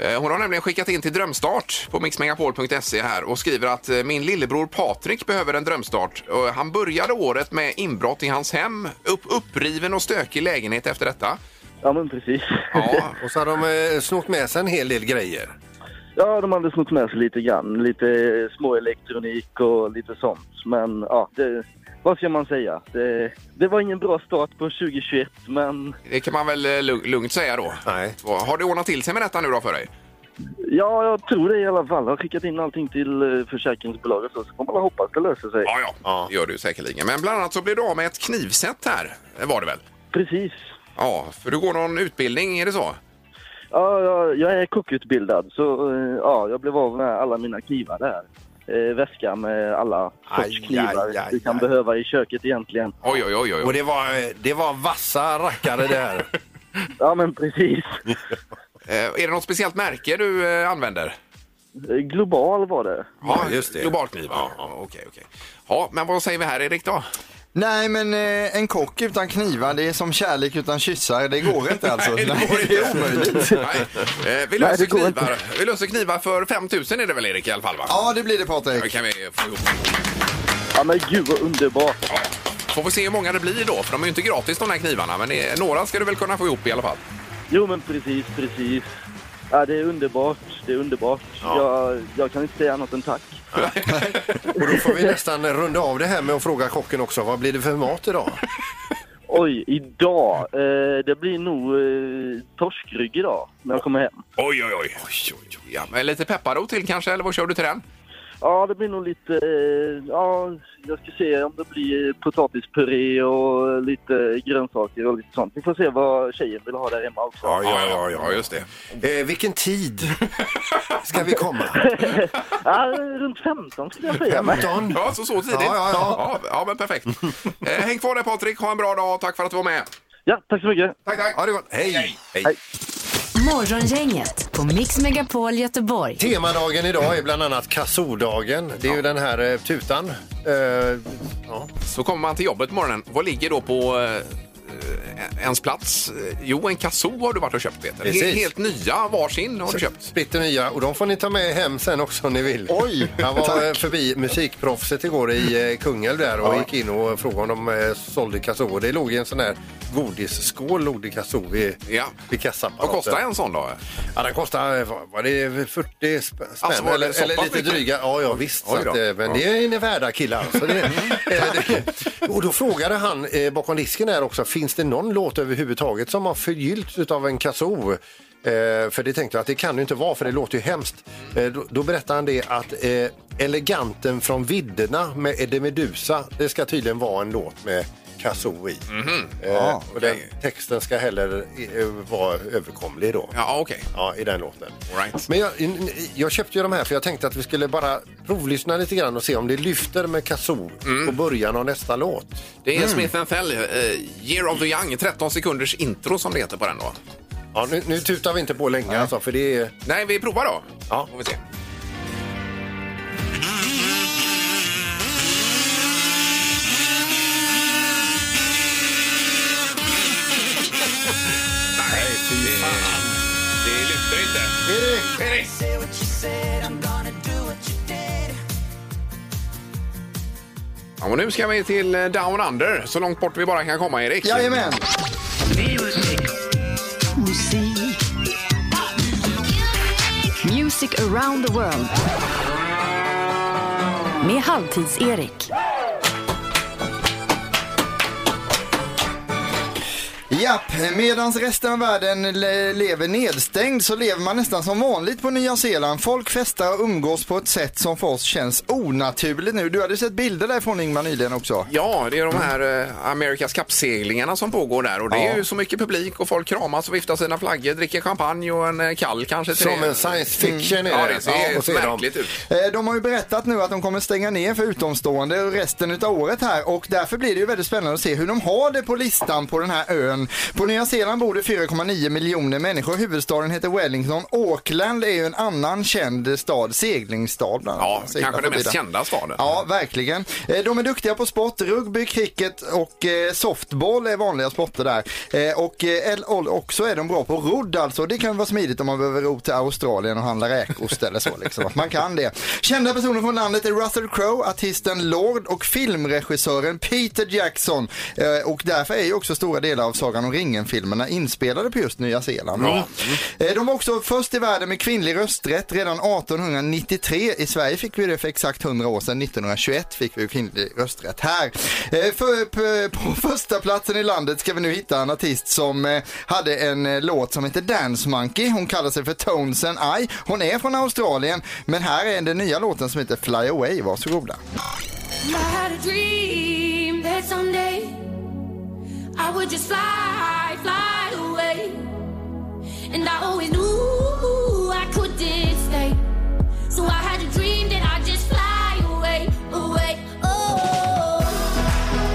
Speaker 3: Eh, Hon har nämligen skickat in till drömstart på mixmegapol.se här och skriver att eh, min lillebror Patrik behöver en drömstart. Och Han började året med inbrott i hans hem, upp, uppriven och stökig lägenhet efter detta.
Speaker 1: Ja, men precis.
Speaker 3: Ja,
Speaker 4: Och så har de eh, snott med sig en hel del grejer.
Speaker 1: Ja, de hade snott med sig lite grann. Lite små elektronik och lite sånt. Men ja, det, vad ska man säga? Det, det var ingen bra start på 2021, men
Speaker 3: det kan man väl eh, lug- lugnt säga då.
Speaker 4: Nej.
Speaker 3: Vad- Har det ordnat till sig med detta nu då för dig?
Speaker 1: ja, jag tror det i alla fall. Jag har skickat in allting till eh, försäkringsbolaget så får man hoppas det löser sig.
Speaker 3: Ja, ja,
Speaker 4: Ja.
Speaker 3: det gör du ju säkerligen. Men bland annat så blev du av med ett knivset här, eh, var det väl?
Speaker 1: Precis.
Speaker 3: Ja, för du går någon utbildning, är det så?
Speaker 1: Ja, jag, jag är kockutbildad, så eh, ja, jag blev av med alla mina knivar där. Eh, väska med alla sorts
Speaker 4: Aj,
Speaker 1: knivar
Speaker 4: aj, aj,
Speaker 1: du kan
Speaker 4: aj.
Speaker 1: behöva i köket egentligen.
Speaker 3: Oj, oj, oj. oj.
Speaker 4: Och det var, eh, det var vassa rackare där.
Speaker 1: Ja, men precis.
Speaker 3: Eh, Är det något speciellt märke du eh, använder?
Speaker 1: Eh, Global var det.
Speaker 4: Ja, just det.
Speaker 3: Globalkniv, ja. ja, Okej, okej. Ja, men vad säger vi här, Erik, då?
Speaker 5: Nej, men eh, en kock utan knivar, det är som kärlek utan kyssar. Det går inte alltså.
Speaker 3: Nej, det går
Speaker 5: det är
Speaker 3: inte.
Speaker 5: omöjligt.
Speaker 3: Nej. Eh, Vi löser, knivar. vi löser knivar för 5 000 är det väl, Erik, i alla fall? Va?
Speaker 5: Ja, det blir det
Speaker 3: Då
Speaker 5: Patrik.
Speaker 3: kan vi få ihop.
Speaker 1: Ja, men gud vad underbart.
Speaker 3: Ja. Får vi se hur många det blir då, för de är ju inte gratis de här knivarna. Men eh, några ska du väl kunna få ihop i alla fall?
Speaker 1: Jo, men precis, precis. Ja, det är underbart. Det är underbart. Jag, jag kan inte säga annat än tack.
Speaker 4: Och då får vi nästan runda av det här med att fråga kocken också. Vad blir det för mat idag?
Speaker 1: Oj, idag. Eh, det blir nog eh, torskrygg idag när jag kommer hem.
Speaker 3: Oj, oj, oj. oj, oj. Ja, men lite pepparrot till kanske, eller vad kör du till den?
Speaker 1: Ja, det blir nog lite... Eh, ja, jag ska se om det blir potatispuré och lite grönsaker och lite sånt. Vi får se vad tjejen vill ha där hemma också.
Speaker 3: ja, ja just det.
Speaker 4: Eh, vilken tid ska vi komma?
Speaker 1: Ja, runt 15 skulle jag säga. Men,
Speaker 4: Femton?
Speaker 3: Ja, så, så tidigt.
Speaker 4: Ja, ja,
Speaker 3: ja. ja men perfekt. Eh, häng kvar där, Patrik. Ha en bra dag. Tack för att du var med.
Speaker 1: ja, tack så mycket.
Speaker 3: Tack, tack.
Speaker 4: Ha det gott. Hej! Hej.
Speaker 2: Morgongänget på Mix Megapol Göteborg.
Speaker 4: Temadagen idag är bland annat kassodagen. Det är ju den här eh, tutan. Eh, ja.
Speaker 3: Så kommer man till jobbet på morgonen. Vad ligger då på eh, ens plats? Eh, Jo, en kasso har du varit och köpt, Peter.
Speaker 4: Precis.
Speaker 3: He- helt nya, varsin har du köpt.
Speaker 4: Splitter nya och de får ni ta med hem sen också om ni vill.
Speaker 5: Oj,
Speaker 4: Jag var
Speaker 5: tack.
Speaker 4: eh, förbi musikproffset igår i eh, Kungälv där och gick in och frågade om de eh, sålde kassor. Det låg i en sån här godisskål låg det kassor vid,
Speaker 3: Ja.
Speaker 4: vid
Speaker 3: Vad
Speaker 4: kassaapparaten.
Speaker 3: kostar en sån då?
Speaker 4: Ja, den kostar eh, vad- var det 40 sp- spänn
Speaker 3: Alltså, var det
Speaker 4: eller,
Speaker 3: så
Speaker 4: eller
Speaker 3: pass
Speaker 4: lite
Speaker 3: mycket?
Speaker 4: dryga. Ja, ja visst. Så
Speaker 3: Oj
Speaker 4: att,
Speaker 3: då.
Speaker 4: eh, men det är ni värda killar. Så det, eh, det, och då frågade han eh, bakom disken här också, finns det någon låt överhuvudtaget som har förgyllts av en kazoo? Eh, för det tänkte jag att det kan ju inte vara för det låter ju hemskt. Eh, då, då berättade han det att eh, Eleganten från vidderna med Eddie Meduza, det ska tydligen vara en låt med kazoo i. eh, och den
Speaker 3: Mhm. okej.
Speaker 4: texten ska heller eh, vara överkomlig då.
Speaker 3: Ja, ah, okej.
Speaker 4: Ja, i den låten.
Speaker 3: All right.
Speaker 4: Men jag, jag köpte ju de här för jag tänkte att vi skulle bara provlyssna lite grann och se om det lyfter med Kazoo på början av nästa låt.
Speaker 3: Det är Smith Thell, eh, Year of the Young. 13 sekunders intro som det heter på den då.
Speaker 4: Ja, nu, nu tutar vi inte på länge alltså, för det är...
Speaker 3: Nej, vi provar då.
Speaker 4: Ja.
Speaker 3: Får vi se. Nej, fy fan. Det lyfter inte. Erik! Erik! Ja, och nu ska vi till eh, Down Under, så långt bort vi bara kan komma, Erik.
Speaker 5: Jajamän.
Speaker 2: Music around the world. Med Halvtids-Erik.
Speaker 5: Japp, medans resten av världen le- lever nedstängd så lever man nästan som vanligt på Nya Zeeland. Folk festar och umgås på ett sätt som för oss känns onaturligt nu. Du hade sett bilder därifrån Ingmar nyligen också.
Speaker 3: Ja, det är de här eh, Amerikas kappseglingarna som pågår där och det är ju så mycket publik och folk kramas och viftar sina flaggor, dricker champagne och en eh, kall kanske till
Speaker 4: Som
Speaker 3: det.
Speaker 4: en science fiction är
Speaker 3: Ja,
Speaker 4: det.
Speaker 3: det ser
Speaker 4: Mm. Ja, och så är de-
Speaker 3: märkligt ut.
Speaker 5: Eh, De har ju berättat nu att de kommer stänga ner för utomstående resten av året här och därför blir det ju väldigt spännande att se hur de har det på listan på den här ön. På Nya Zeeland bor det 4,9 miljoner människor. Huvudstaden heter Wellington. Auckland är ju en annan känd stad, seglingsstad bland annat.
Speaker 3: Ja,
Speaker 5: Seglar
Speaker 3: kanske den
Speaker 5: förbi
Speaker 3: mest
Speaker 5: där.
Speaker 3: kända staden.
Speaker 5: Ja, verkligen. Eh, De är duktiga på sport. Rugby, cricket och eh, softball är vanliga sporter där. Eh, Och eh, el- ol- också är de bra på rodd alltså. Det kan vara smidigt om man behöver ro till Australien och handla räkost eller så. Liksom. Att Man kan det. Kända personer från landet är Russell Crowe, artisten Lord och filmregissören Peter Jackson. Eh, Och därför är ju också stora delar av Sagan om ringen-filmerna inspelade på just Nya Zeeland. Eh, De var också först i världen med kvinnlig rösträtt redan 1893. I Sverige fick vi det för exakt 100 år sedan. 1921 fick vi ju kvinnlig rösträtt här. Eh, För, på, på första platsen i landet ska vi nu hitta en artist som eh, hade en eh, låt som heter Dance Monkey. Hon kallar sig för Tones and I. Hon är från Australien, men här är den nya låten som heter Fly Away. Varsågoda.
Speaker 2: oh.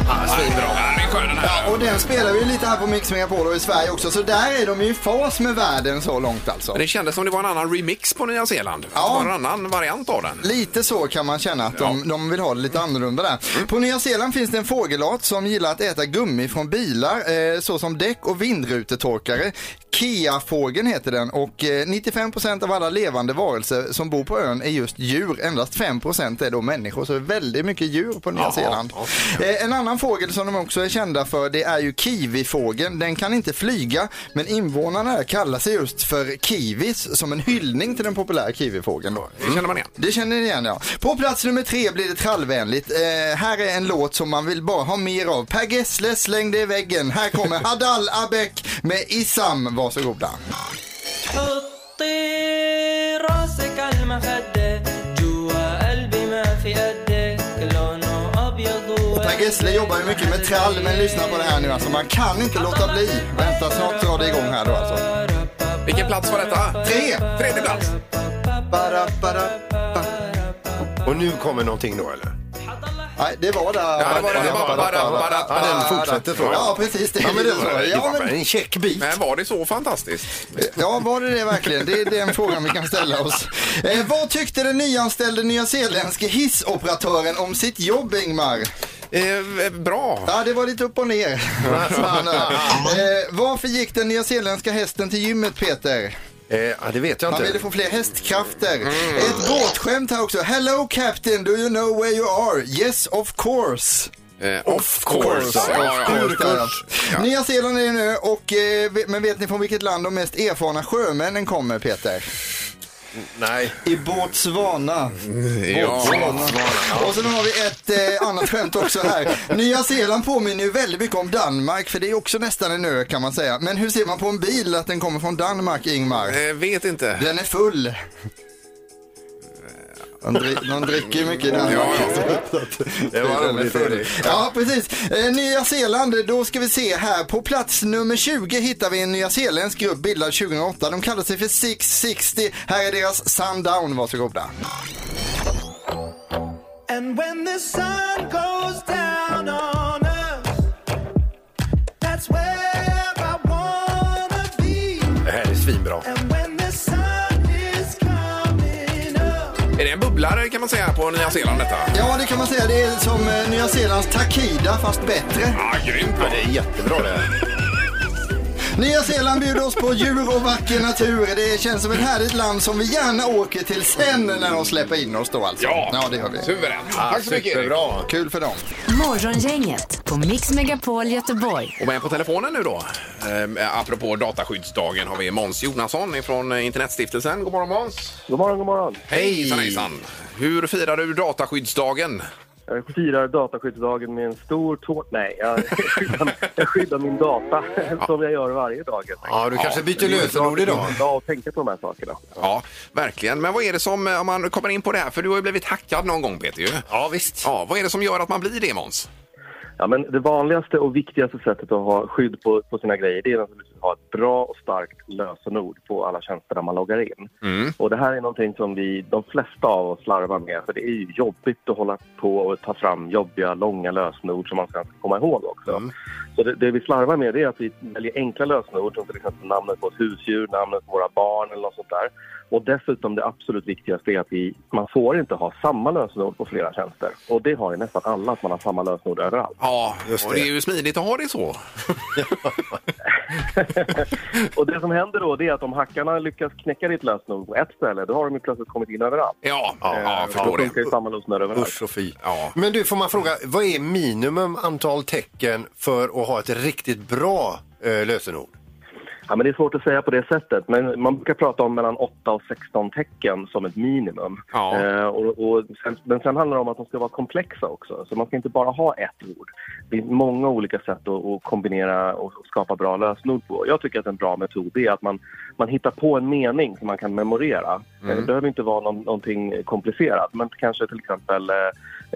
Speaker 3: Ja, Svinbra. Ja, den är skön den här.
Speaker 5: Och den spelar vi lite här på Mix Megapol och i Sverige också, så där är de ju i fas med världen så långt alltså.
Speaker 3: Men det kändes som det var en annan remix på Nya Zeeland.
Speaker 5: Ja.
Speaker 3: Det var en annan variant av den.
Speaker 5: Lite så kan man känna att de, de vill ha det lite annorlunda där. På Nya Zeeland finns det en fågelart som gillar att äta gummi från bilar, eh, såsom däck och vindrutetorkare. Kiafågeln heter den och eh, 95% av alla levande varelser som bor på ön är just djur. Endast 5% är då människor, så det är väldigt mycket djur på Nya
Speaker 3: Jaha,
Speaker 5: Zeeland. Eh, en annan fågel som de också är kända för det är ju kiwifågeln. Den kan inte flyga, men invånarna där kallar sig just för kiwis som en hyllning till den populära kiwifågeln. Då.
Speaker 3: Det känner man igen.
Speaker 5: Det känner ni igen ja. På plats nummer tre blir det trallvänligt. Eh, här är en låt som man vill bara ha mer av. Per Gessle slängde i väggen. Här kommer Hadal Abek med Isam. Varsågoda. Och Per Gessle jobbar ju mycket med trall men lyssna på det här nu alltså. Man kan inte låta bli. Vänta snart drar det igång här då alltså.
Speaker 3: Vilken plats var detta?
Speaker 5: Tre!
Speaker 3: Tredje plats.
Speaker 5: Bara, bara, ba.
Speaker 4: Och nu kommer någonting då eller?
Speaker 5: Nej, det var där.
Speaker 3: Ja, det var det. Bara, bara, bara, bara.
Speaker 4: Ja, den fortsätter så.
Speaker 5: Ja, precis. Det
Speaker 4: Ja, men det
Speaker 5: är
Speaker 4: var
Speaker 5: så. Ja, men
Speaker 4: en check bit.
Speaker 3: Men var det så fantastiskt?
Speaker 5: Ja, var det det verkligen? Det är den frågan vi kan ställa oss. Eh, vad tyckte den nyanställde nyzeeländske hissoperatören om sitt jobb, Ingmar?
Speaker 3: Eh, bra.
Speaker 5: Ja, det var lite upp och ner. Alltså, han, eh, varför gick den nyzeeländska hästen till gymmet, Peter?
Speaker 4: Eh, ja, det vet jag
Speaker 5: Han
Speaker 4: inte.
Speaker 5: ville få fler hästkrafter.
Speaker 3: Mm.
Speaker 5: Ett båtskämt här också. Hello Captain, do you know where you are? Yes, of course.
Speaker 3: Eh, of course.
Speaker 5: Ja,
Speaker 3: Ja, ja,
Speaker 5: of course. Ja. Nya Zeeland är ju nu och, eh, ve- men vet ni från vilket land de mest erfarna sjömännen kommer, Peter?
Speaker 4: Nej.
Speaker 5: I Botswana.
Speaker 3: ja.
Speaker 5: Och sen har vi ett eh, annat skämt också här. Nya Zeeland påminner ju väldigt mycket om Danmark, för det är också nästan en ö kan man säga. Men hur ser man på en bil att den kommer från Danmark, Ingmar?
Speaker 3: Eh, vet inte.
Speaker 5: Den är full. De, dri- de dricker ju mycket i Danmark.
Speaker 3: Ja,
Speaker 4: Det var roligt Erik.
Speaker 5: Ja, precis. Eh, Nya Zeeland, då ska vi se här. På plats nummer 20 hittar vi en nyzeeländsk grupp bildad 2008. De kallar sig för 660. Här är deras Sundown, varsågoda.
Speaker 7: And when the sun goes down on us That's where I wanna be
Speaker 4: Det här är svinbra.
Speaker 7: And when the sun is coming up
Speaker 3: Är det en bubblare kan man säga på Nya Zeeland detta?
Speaker 5: Ja, det kan man säga. Det är som eh, Nya Zeelands Takida, fast bättre.
Speaker 3: Ja, grymt bra.
Speaker 4: Det är jättebra det.
Speaker 5: Nya Zeeland bjuder oss på djur och vacker natur. Det känns som ett härligt land som vi gärna åker till sen när de släpper in oss då alltså.
Speaker 3: Ja,
Speaker 5: ja det gör vi.
Speaker 3: Suveränt. Tack så mycket Erik.
Speaker 9: Superbra.
Speaker 5: Kul för dem.
Speaker 2: Morgongänget på Mix Megapol Göteborg.
Speaker 3: Och med på telefonen nu då, eh, apropå dataskyddsdagen, har vi Måns Jonasson från Internetstiftelsen. God morgon Måns!
Speaker 4: God morgon, god morgon.
Speaker 3: Hej! Hejsan, hejsan! Hur firar du dataskyddsdagen?
Speaker 4: Jag firar dataskyddsdagen med en stor tår... Nej, jag skyddar, jag skyddar min data som jag gör varje dag. helt enkelt.
Speaker 9: Ja, du kanske byter lösenord
Speaker 4: Det
Speaker 9: idag.
Speaker 4: är en dag att tänka på de här sakerna.
Speaker 3: Ja, verkligen. Men vad är det som, eh, om man kommer in på det här, för du har ju blivit hackad någon gång Peter ju.
Speaker 9: Ja, visst.
Speaker 3: Ja, vad är det som gör att man blir det Måns?
Speaker 4: Ja, men det vanligaste och viktigaste sättet att ha skydd på, på sina grejer det är naturligtvis att ha ett bra och starkt lösenord på alla tjänster där man loggar in.
Speaker 9: Mm.
Speaker 4: Och det här är någonting som vi, de flesta av oss slarvar med för det är ju jobbigt att hålla på och ta fram jobbiga, långa lösenord som man sen ska komma ihåg också. Så det, det vi slarvar med det är att vi väljer enkla lösenord som till exempel namnet på ett husdjur, namnet på våra barn eller något sånt där. Och dessutom det absolut viktigaste är att vi, man får inte ha samma lösenord på flera tjänster. Och det har ju nästan alla, att man har samma lösenord överallt.
Speaker 3: Ja, och det är ju smidigt att ha det så.
Speaker 4: Och det som händer då det är att om hackarna lyckas knäcka ditt lösenord på ett ställe, då har de ju plötsligt kommit in överallt.
Speaker 3: Ja, ja, jag
Speaker 4: Då
Speaker 3: förstår det.
Speaker 4: funkar ju samma lösenord överallt.
Speaker 9: Usch och fy.
Speaker 3: Ja.
Speaker 9: Men du, får man fråga, vad är minimum antal tecken för att ha ett riktigt bra eh, lösenord?
Speaker 4: Ja, men det är svårt att säga på det sättet, men man brukar prata om mellan 8 och 16 tecken som ett minimum.
Speaker 3: Ja.
Speaker 4: Eh, och, och sen, men sen handlar det om att de ska vara komplexa också, så man ska inte bara ha ett ord. Det finns många olika sätt att, att kombinera och skapa bra lösenord på. Jag tycker att en bra metod är att man, man hittar på en mening som man kan memorera. Eh, Det behöver inte vara någon, någonting komplicerat, men kanske till exempel eh,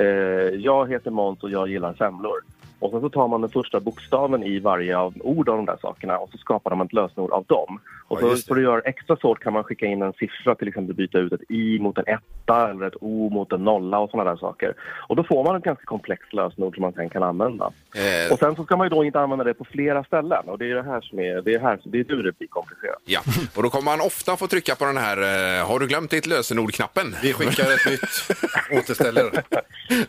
Speaker 4: eh, jag heter Måns och jag gillar semlor. Och sen så tar man den första bokstaven i varje av ord av de där sakerna och så skapar man ett lösenord av dem. Och
Speaker 9: Ja,
Speaker 4: så,
Speaker 9: just det.
Speaker 4: för att göra extra svårt kan man skicka in en siffra, till exempel byta ut ett i mot en etta eller ett o mot en nolla och sådana där saker. Och då får man ett ganska komplext lösenord som man sen kan använda.
Speaker 3: Eh.
Speaker 4: Och sen så ska man ju då inte använda det på flera ställen och det är det här som är, det är här, det är nu det blir komplicerat.
Speaker 3: Ja, och då kommer man ofta få trycka på den här eh, “Har du glömt ditt lösenord?”-knappen.
Speaker 9: Vi skickar ett nytt återställare.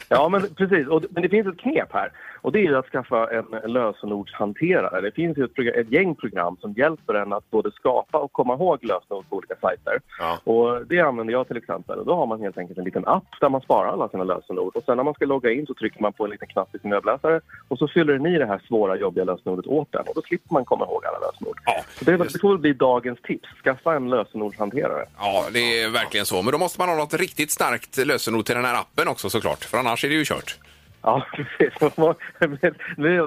Speaker 4: Ja, men precis. Och, men det finns ett knep här. Och det är ju att skaffa en lösenordshanterare. Det finns ju ett, program, ett gäng program som hjälper en att både skapa och komma ihåg lösenord på olika sajter.
Speaker 9: Ja.
Speaker 4: Och det använder jag till exempel. Och då har man helt enkelt en liten app där man sparar alla sina lösenord. Och sen när man ska logga in så trycker man på en liten knapp i sin webbläsare och så fyller den i det här svåra, jobbiga lösenordet åt den. Och då slipper man komma ihåg alla lösenord. så det, det får bli dagens tips. Skaffa en lösenordshanterare.
Speaker 3: Ja, det är verkligen så. Men då måste man ha något riktigt starkt lösenord till den här appen också såklart. För annars är det ju kört.
Speaker 4: Ja, precis. Om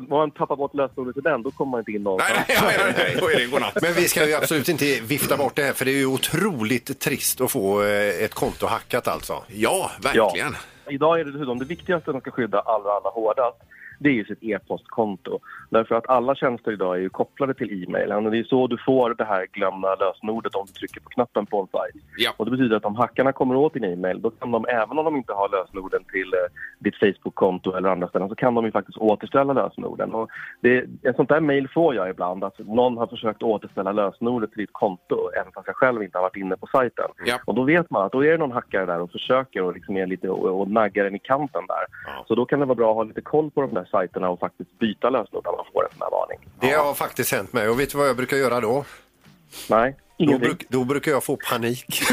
Speaker 4: man tappar bort lösenordet till den, då kommer man inte in någonstans.
Speaker 3: Nej, nej, nej, nej. Då är det godnatt.
Speaker 9: Men vi ska ju absolut inte vifta bort det här för det är ju otroligt trist att få eh, ett konto hackat alltså.
Speaker 3: Ja, verkligen.
Speaker 4: Idag är det dessutom det viktigaste de ska skydda allra, allra hårdast det är ju sitt e-postkonto. Därför att alla tjänster idag är ju kopplade till e-mailen och det är så du får det här glömda lösenordet om du trycker på knappen på en sajt.
Speaker 3: Ja.
Speaker 4: Och det betyder att om hackarna kommer åt din e-mail då kan de, även om de inte har lösenorden till eh, ditt Facebook-konto eller andra ställen, så kan de ju faktiskt återställa lösenorden. Och det, ett sånt där mejl får jag ibland, att någon har försökt återställa lösenordet till ditt konto även fast jag själv inte har varit inne på sajten.
Speaker 3: Ja.
Speaker 4: Och då vet man att då är det någon hackare där och försöker och liksom är lite och, och naggar den i kanten där. Så då kan det vara bra att ha lite koll på de där sajterna och faktiskt byta lösenord när man får en sån här varning.
Speaker 9: Det har faktiskt hänt mig och vet du vad jag brukar göra då?
Speaker 4: Nej,
Speaker 9: Då,
Speaker 4: ingenting.
Speaker 9: bruk, då brukar jag få panik.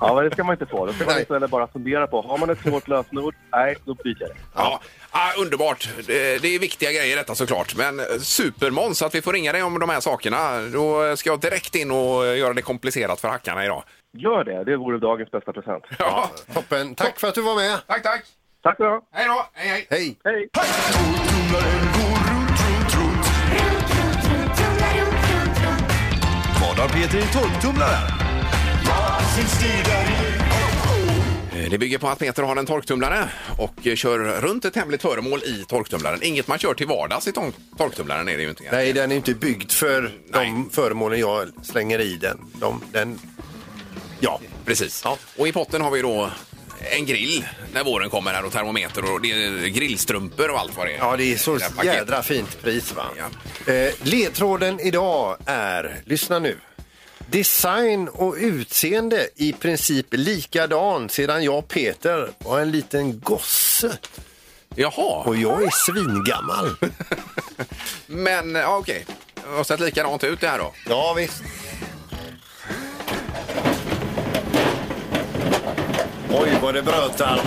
Speaker 4: Ja, men det ska man inte få. Då ska man
Speaker 9: Nej.
Speaker 4: istället bara fundera på, har man ett svårt lösenord? Nej, då byter jag det.
Speaker 3: Ja. Ah, underbart. Det det är viktiga grejer detta såklart. Men eh, supermåns att vi får ringa dig om de här sakerna. Då eh, ska jag direkt in och eh, göra det komplicerat för hackarna idag.
Speaker 4: Gör det, det vore dagens bästa present.
Speaker 3: Ja.
Speaker 9: Toppen, tack för att du var med.
Speaker 3: Tack, tack.
Speaker 4: Tack så mycket.
Speaker 3: Hej då. Hej, hej.
Speaker 9: Hej!
Speaker 4: Hej!
Speaker 10: Vad har Peter i torktumlaren?
Speaker 3: Eh, Det bygger på att Peter har en torktumlare och eh, kör runt ett hemligt föremål i torktumlaren. Inget man kör till vardags i tor- torktumlaren är det ju inte.
Speaker 9: Nej, den är inte byggd för de föremålen jag slänger i den. De, den
Speaker 3: Ja, precis. Och i potten har vi då en grill när våren kommer här och termometer och det är grillstrumpor och allt vad det är.
Speaker 9: Ja, det är så
Speaker 3: Det här paketet.
Speaker 9: jädra fint pris va? Eh, ledtråden idag är, lyssna nu. Design och utseende i princip likadan sedan jag Peter var en liten gosse.
Speaker 3: Jaha,
Speaker 4: Och jag är svingammal.
Speaker 3: men ja, okej. Det har sett likadant ut det här då.
Speaker 4: Ja, visst. Oj, vad det brötar.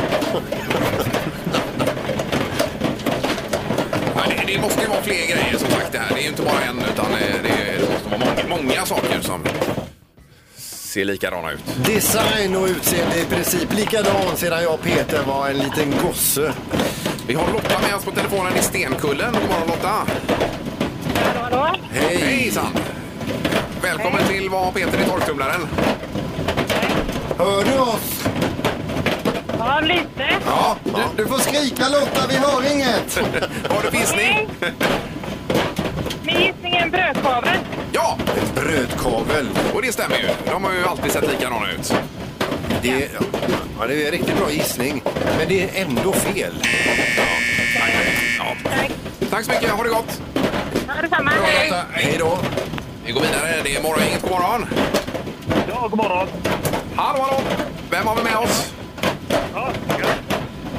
Speaker 3: Ja, det, det måste ju vara fler grejer som sagt det här. Det är ju inte bara en utan eh, det, det måste vara många, många saker som ser likadana ut.
Speaker 4: Design och utseende är i princip likadan sedan jag och Peter var en liten gosse.
Speaker 3: Vi har Lotta med oss på telefonen i Stenkullen. God morgon Lotta!
Speaker 6: Hallå, hallå.
Speaker 3: Hej! Hejsan! Välkommen till vad har Peter i torktumlaren?
Speaker 4: Hör du oss?
Speaker 6: Ja, lite.
Speaker 3: Ja,
Speaker 4: Du, du får skrika Lotta, vi hör inget.
Speaker 3: har du
Speaker 6: Hej.
Speaker 3: pissning?
Speaker 6: Med gissningen brödkavel.
Speaker 3: Ja,
Speaker 4: En brödkavel.
Speaker 3: och det stämmer ju. De har ju alltid sett likadana ut.
Speaker 4: Det, ja, det är en riktigt bra gissning, men det är ändå fel.
Speaker 3: Ja.
Speaker 6: Tack.
Speaker 3: Tack så mycket, ha det gott!
Speaker 6: Ja, detsamma.
Speaker 3: Bra,
Speaker 6: Hej.
Speaker 3: Lotta. Hej då! Vi går vidare, det är morgon, inget god morgon.
Speaker 1: Ja, god morgon.
Speaker 3: Hallå, hallå! Vem har vi med oss?
Speaker 1: Ja,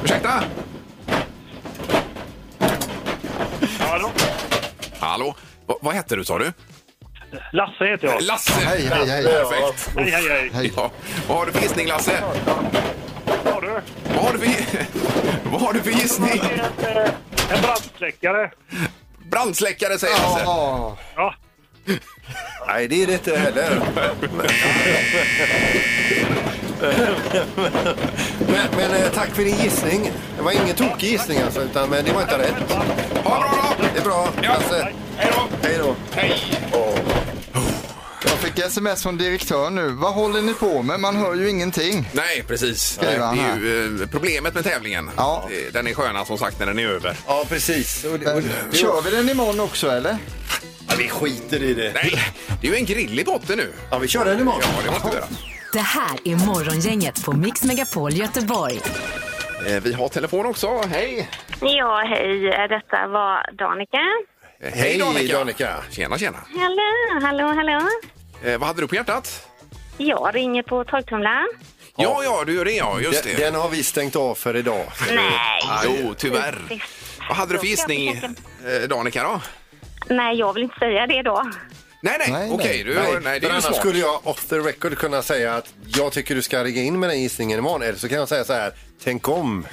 Speaker 3: Ursäkta?
Speaker 1: hallå.
Speaker 3: Hallå? Va, vad hette du sa du?
Speaker 1: Lasse heter jag.
Speaker 3: Lasse!
Speaker 5: Hej, hej, hej.
Speaker 3: Perfekt!
Speaker 1: Hej, hej, hej.
Speaker 5: Hej.
Speaker 3: Ja. Vad har du för gissning Lasse?
Speaker 1: Ja, du.
Speaker 3: Vad har du för, vad har du för gissning?
Speaker 1: Det är en, eh, en brandsläckare.
Speaker 3: Brandsläckare säger Lasse.
Speaker 5: Ja,
Speaker 1: Ja.
Speaker 4: Nej, det är det inte heller. Men, men eh, tack för din gissning. Det var ingen tokig gissning alltså, utan, men det var inte rätt.
Speaker 3: Ha det bra då!
Speaker 4: Det är bra, Lasse.
Speaker 3: Hej då!
Speaker 4: Hej då.
Speaker 3: Hej!
Speaker 5: jag fick sms från direktören nu. Vad håller ni på med? Man hör ju ingenting.
Speaker 3: Nej, precis. Det
Speaker 5: Skriver han
Speaker 3: är ju eh, problemet med tävlingen.
Speaker 5: Ja.
Speaker 3: Eh, Den är skönare som sagt när den är över.
Speaker 4: Ja, precis. Och det- och det-
Speaker 5: Kör vi den imorgon också eller?
Speaker 4: Ja, vi skiter i det.
Speaker 3: Nej, det är ju en grill i botten nu.
Speaker 4: Ja, vi kör den imorgon.
Speaker 3: Ja, det måste vi göra.
Speaker 2: Det här är Morgongänget på Mix Megapol Göteborg.
Speaker 3: Eh, Vi har telefon också. Hej!
Speaker 6: Ja, hej. Detta var Danica.
Speaker 3: Eh,
Speaker 4: Hej, Danica.
Speaker 3: Tjena, tjena.
Speaker 6: Hallå, hallå, hallå.
Speaker 3: Eh, Vad hade du på hjärtat?
Speaker 6: Jag ringer på torktumlaren.
Speaker 3: Ja, ja, du gör det ja. Just
Speaker 4: Den,
Speaker 3: det. Ah,
Speaker 4: den har vi stängt av för idag.
Speaker 6: Nej.
Speaker 3: Jo, tyvärr. Vad hade du för
Speaker 6: Då ska jag
Speaker 3: gissning, eh, Danica då?
Speaker 6: Nej, jag vill inte säga det då.
Speaker 3: Nej, nej,
Speaker 5: Nej,
Speaker 3: okej.
Speaker 5: nej.
Speaker 3: du har- Nej, det
Speaker 4: för
Speaker 3: är ju
Speaker 4: annars
Speaker 3: smart.
Speaker 4: skulle jag off the record kunna säga att jag tycker du ska ringa in med den gissningen imorgon. Eller så kan jag säga så här, tänk om.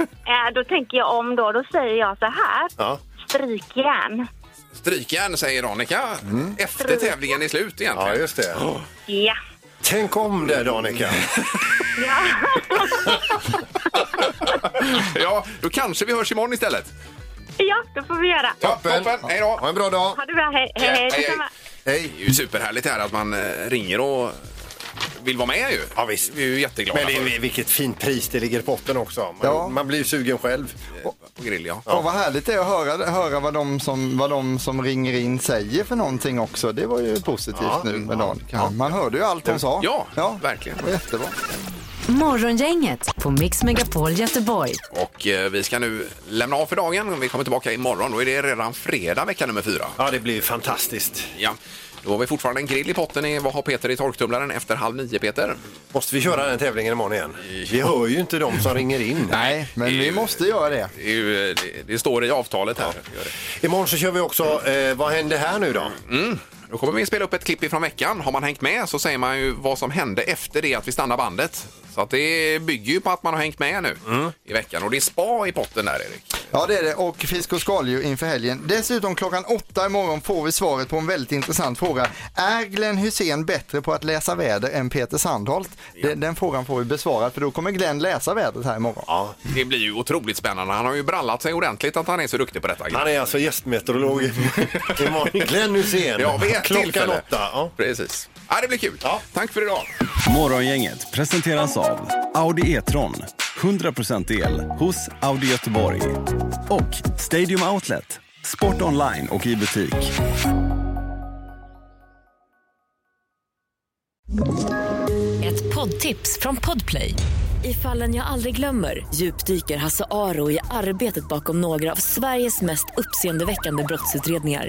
Speaker 6: Eh, Då tänker jag om då. Då säger jag så här.
Speaker 4: Ja.
Speaker 6: Strykjärn.
Speaker 3: Strykjärn säger Danica efter tävlingen är slut
Speaker 4: Ja,
Speaker 3: egentligen.
Speaker 4: just det.
Speaker 6: Ja.
Speaker 4: Tänk om det, Danica.
Speaker 6: ja.
Speaker 3: Ja, då kanske vi hörs imorgon istället.
Speaker 6: Ja, då får vi göra.
Speaker 3: Ja, toppen. Hej då.
Speaker 4: Ha en bra dag.
Speaker 6: Ha det bra. Hej, hej. hej. Detsamma.
Speaker 4: Hej.
Speaker 3: Det är ju superhärligt här att man eh, ringer och vill vara med ju.
Speaker 4: Ja, visst.
Speaker 3: Vi är ju jätteglada
Speaker 4: Men det
Speaker 3: för
Speaker 4: är, vilket fint pris det ligger i potten också. Man,
Speaker 5: Ja.
Speaker 4: man blir ju sugen själv.
Speaker 3: på grill, ja.
Speaker 5: Ja. vad härligt det är att höra, höra vad, de som, vad de som ringer in säger för någonting också. Det var ju positivt nu med dagen. Man hörde ju allt hon sa.
Speaker 3: Ja, verkligen.
Speaker 5: Det var jättebra.
Speaker 2: Morgongänget på Mix Megapol Göteborg.
Speaker 3: Och eh, vi ska nu lämna av för dagen. Vi kommer tillbaka imorgon. Då är det redan fredag vecka nummer fyra.
Speaker 4: Ja, det blir ju fantastiskt.
Speaker 3: Ja. Då har vi fortfarande en grill i potten i Vad har Peter i torktumlaren efter halv nio, Peter?
Speaker 4: Måste vi köra den tävlingen imorgon igen? Vi hör ju inte de som ringer in.
Speaker 5: Nej, men
Speaker 3: det är
Speaker 5: vi
Speaker 3: ju-
Speaker 5: måste göra det.
Speaker 3: Det, är ju, eh, det, det står i avtalet här. Gör det.
Speaker 4: Imorgon så kör vi också eh, Vad händer här nu då?
Speaker 3: Mm. Då kommer vi spela upp ett klipp ifrån veckan. Har man hängt med så säger man ju vad som hände efter det att vi stannar bandet. Så att det bygger ju på att man har hängt med nu
Speaker 4: Mm.
Speaker 3: i veckan. Och det är spa i potten där, Erik.
Speaker 5: Ja det är det och fisk och skaldjur inför helgen. Dessutom klockan åtta imorgon får vi svaret på en väldigt intressant fråga. Är Glenn Hussein bättre på att läsa väder än Peter Sandholt? Den, den frågan får vi besvarad för då kommer Glenn läsa vädret här imorgon.
Speaker 4: Ja.
Speaker 3: Det blir ju otroligt spännande. Han har ju brallat sig ordentligt att han är så duktig på detta.
Speaker 4: Han är alltså gästmeteorolog imorgon. Glenn Hysén.
Speaker 3: Ja, vid ett
Speaker 4: Klockan
Speaker 3: tillfälle.
Speaker 4: åtta. Ja.
Speaker 3: Precis. Ja, det blir kul. Tack för idag.
Speaker 7: Morgongänget presenteras av Audi E-tron. 100% el hos Audi Göteborg. Och Stadium Outlet. Sport online och i butik.
Speaker 11: Ett poddtips från Podplay. I fallen jag aldrig glömmer djupdyker Hasse Aro i arbetet bakom några av Sveriges mest uppseendeväckande brottsutredningar.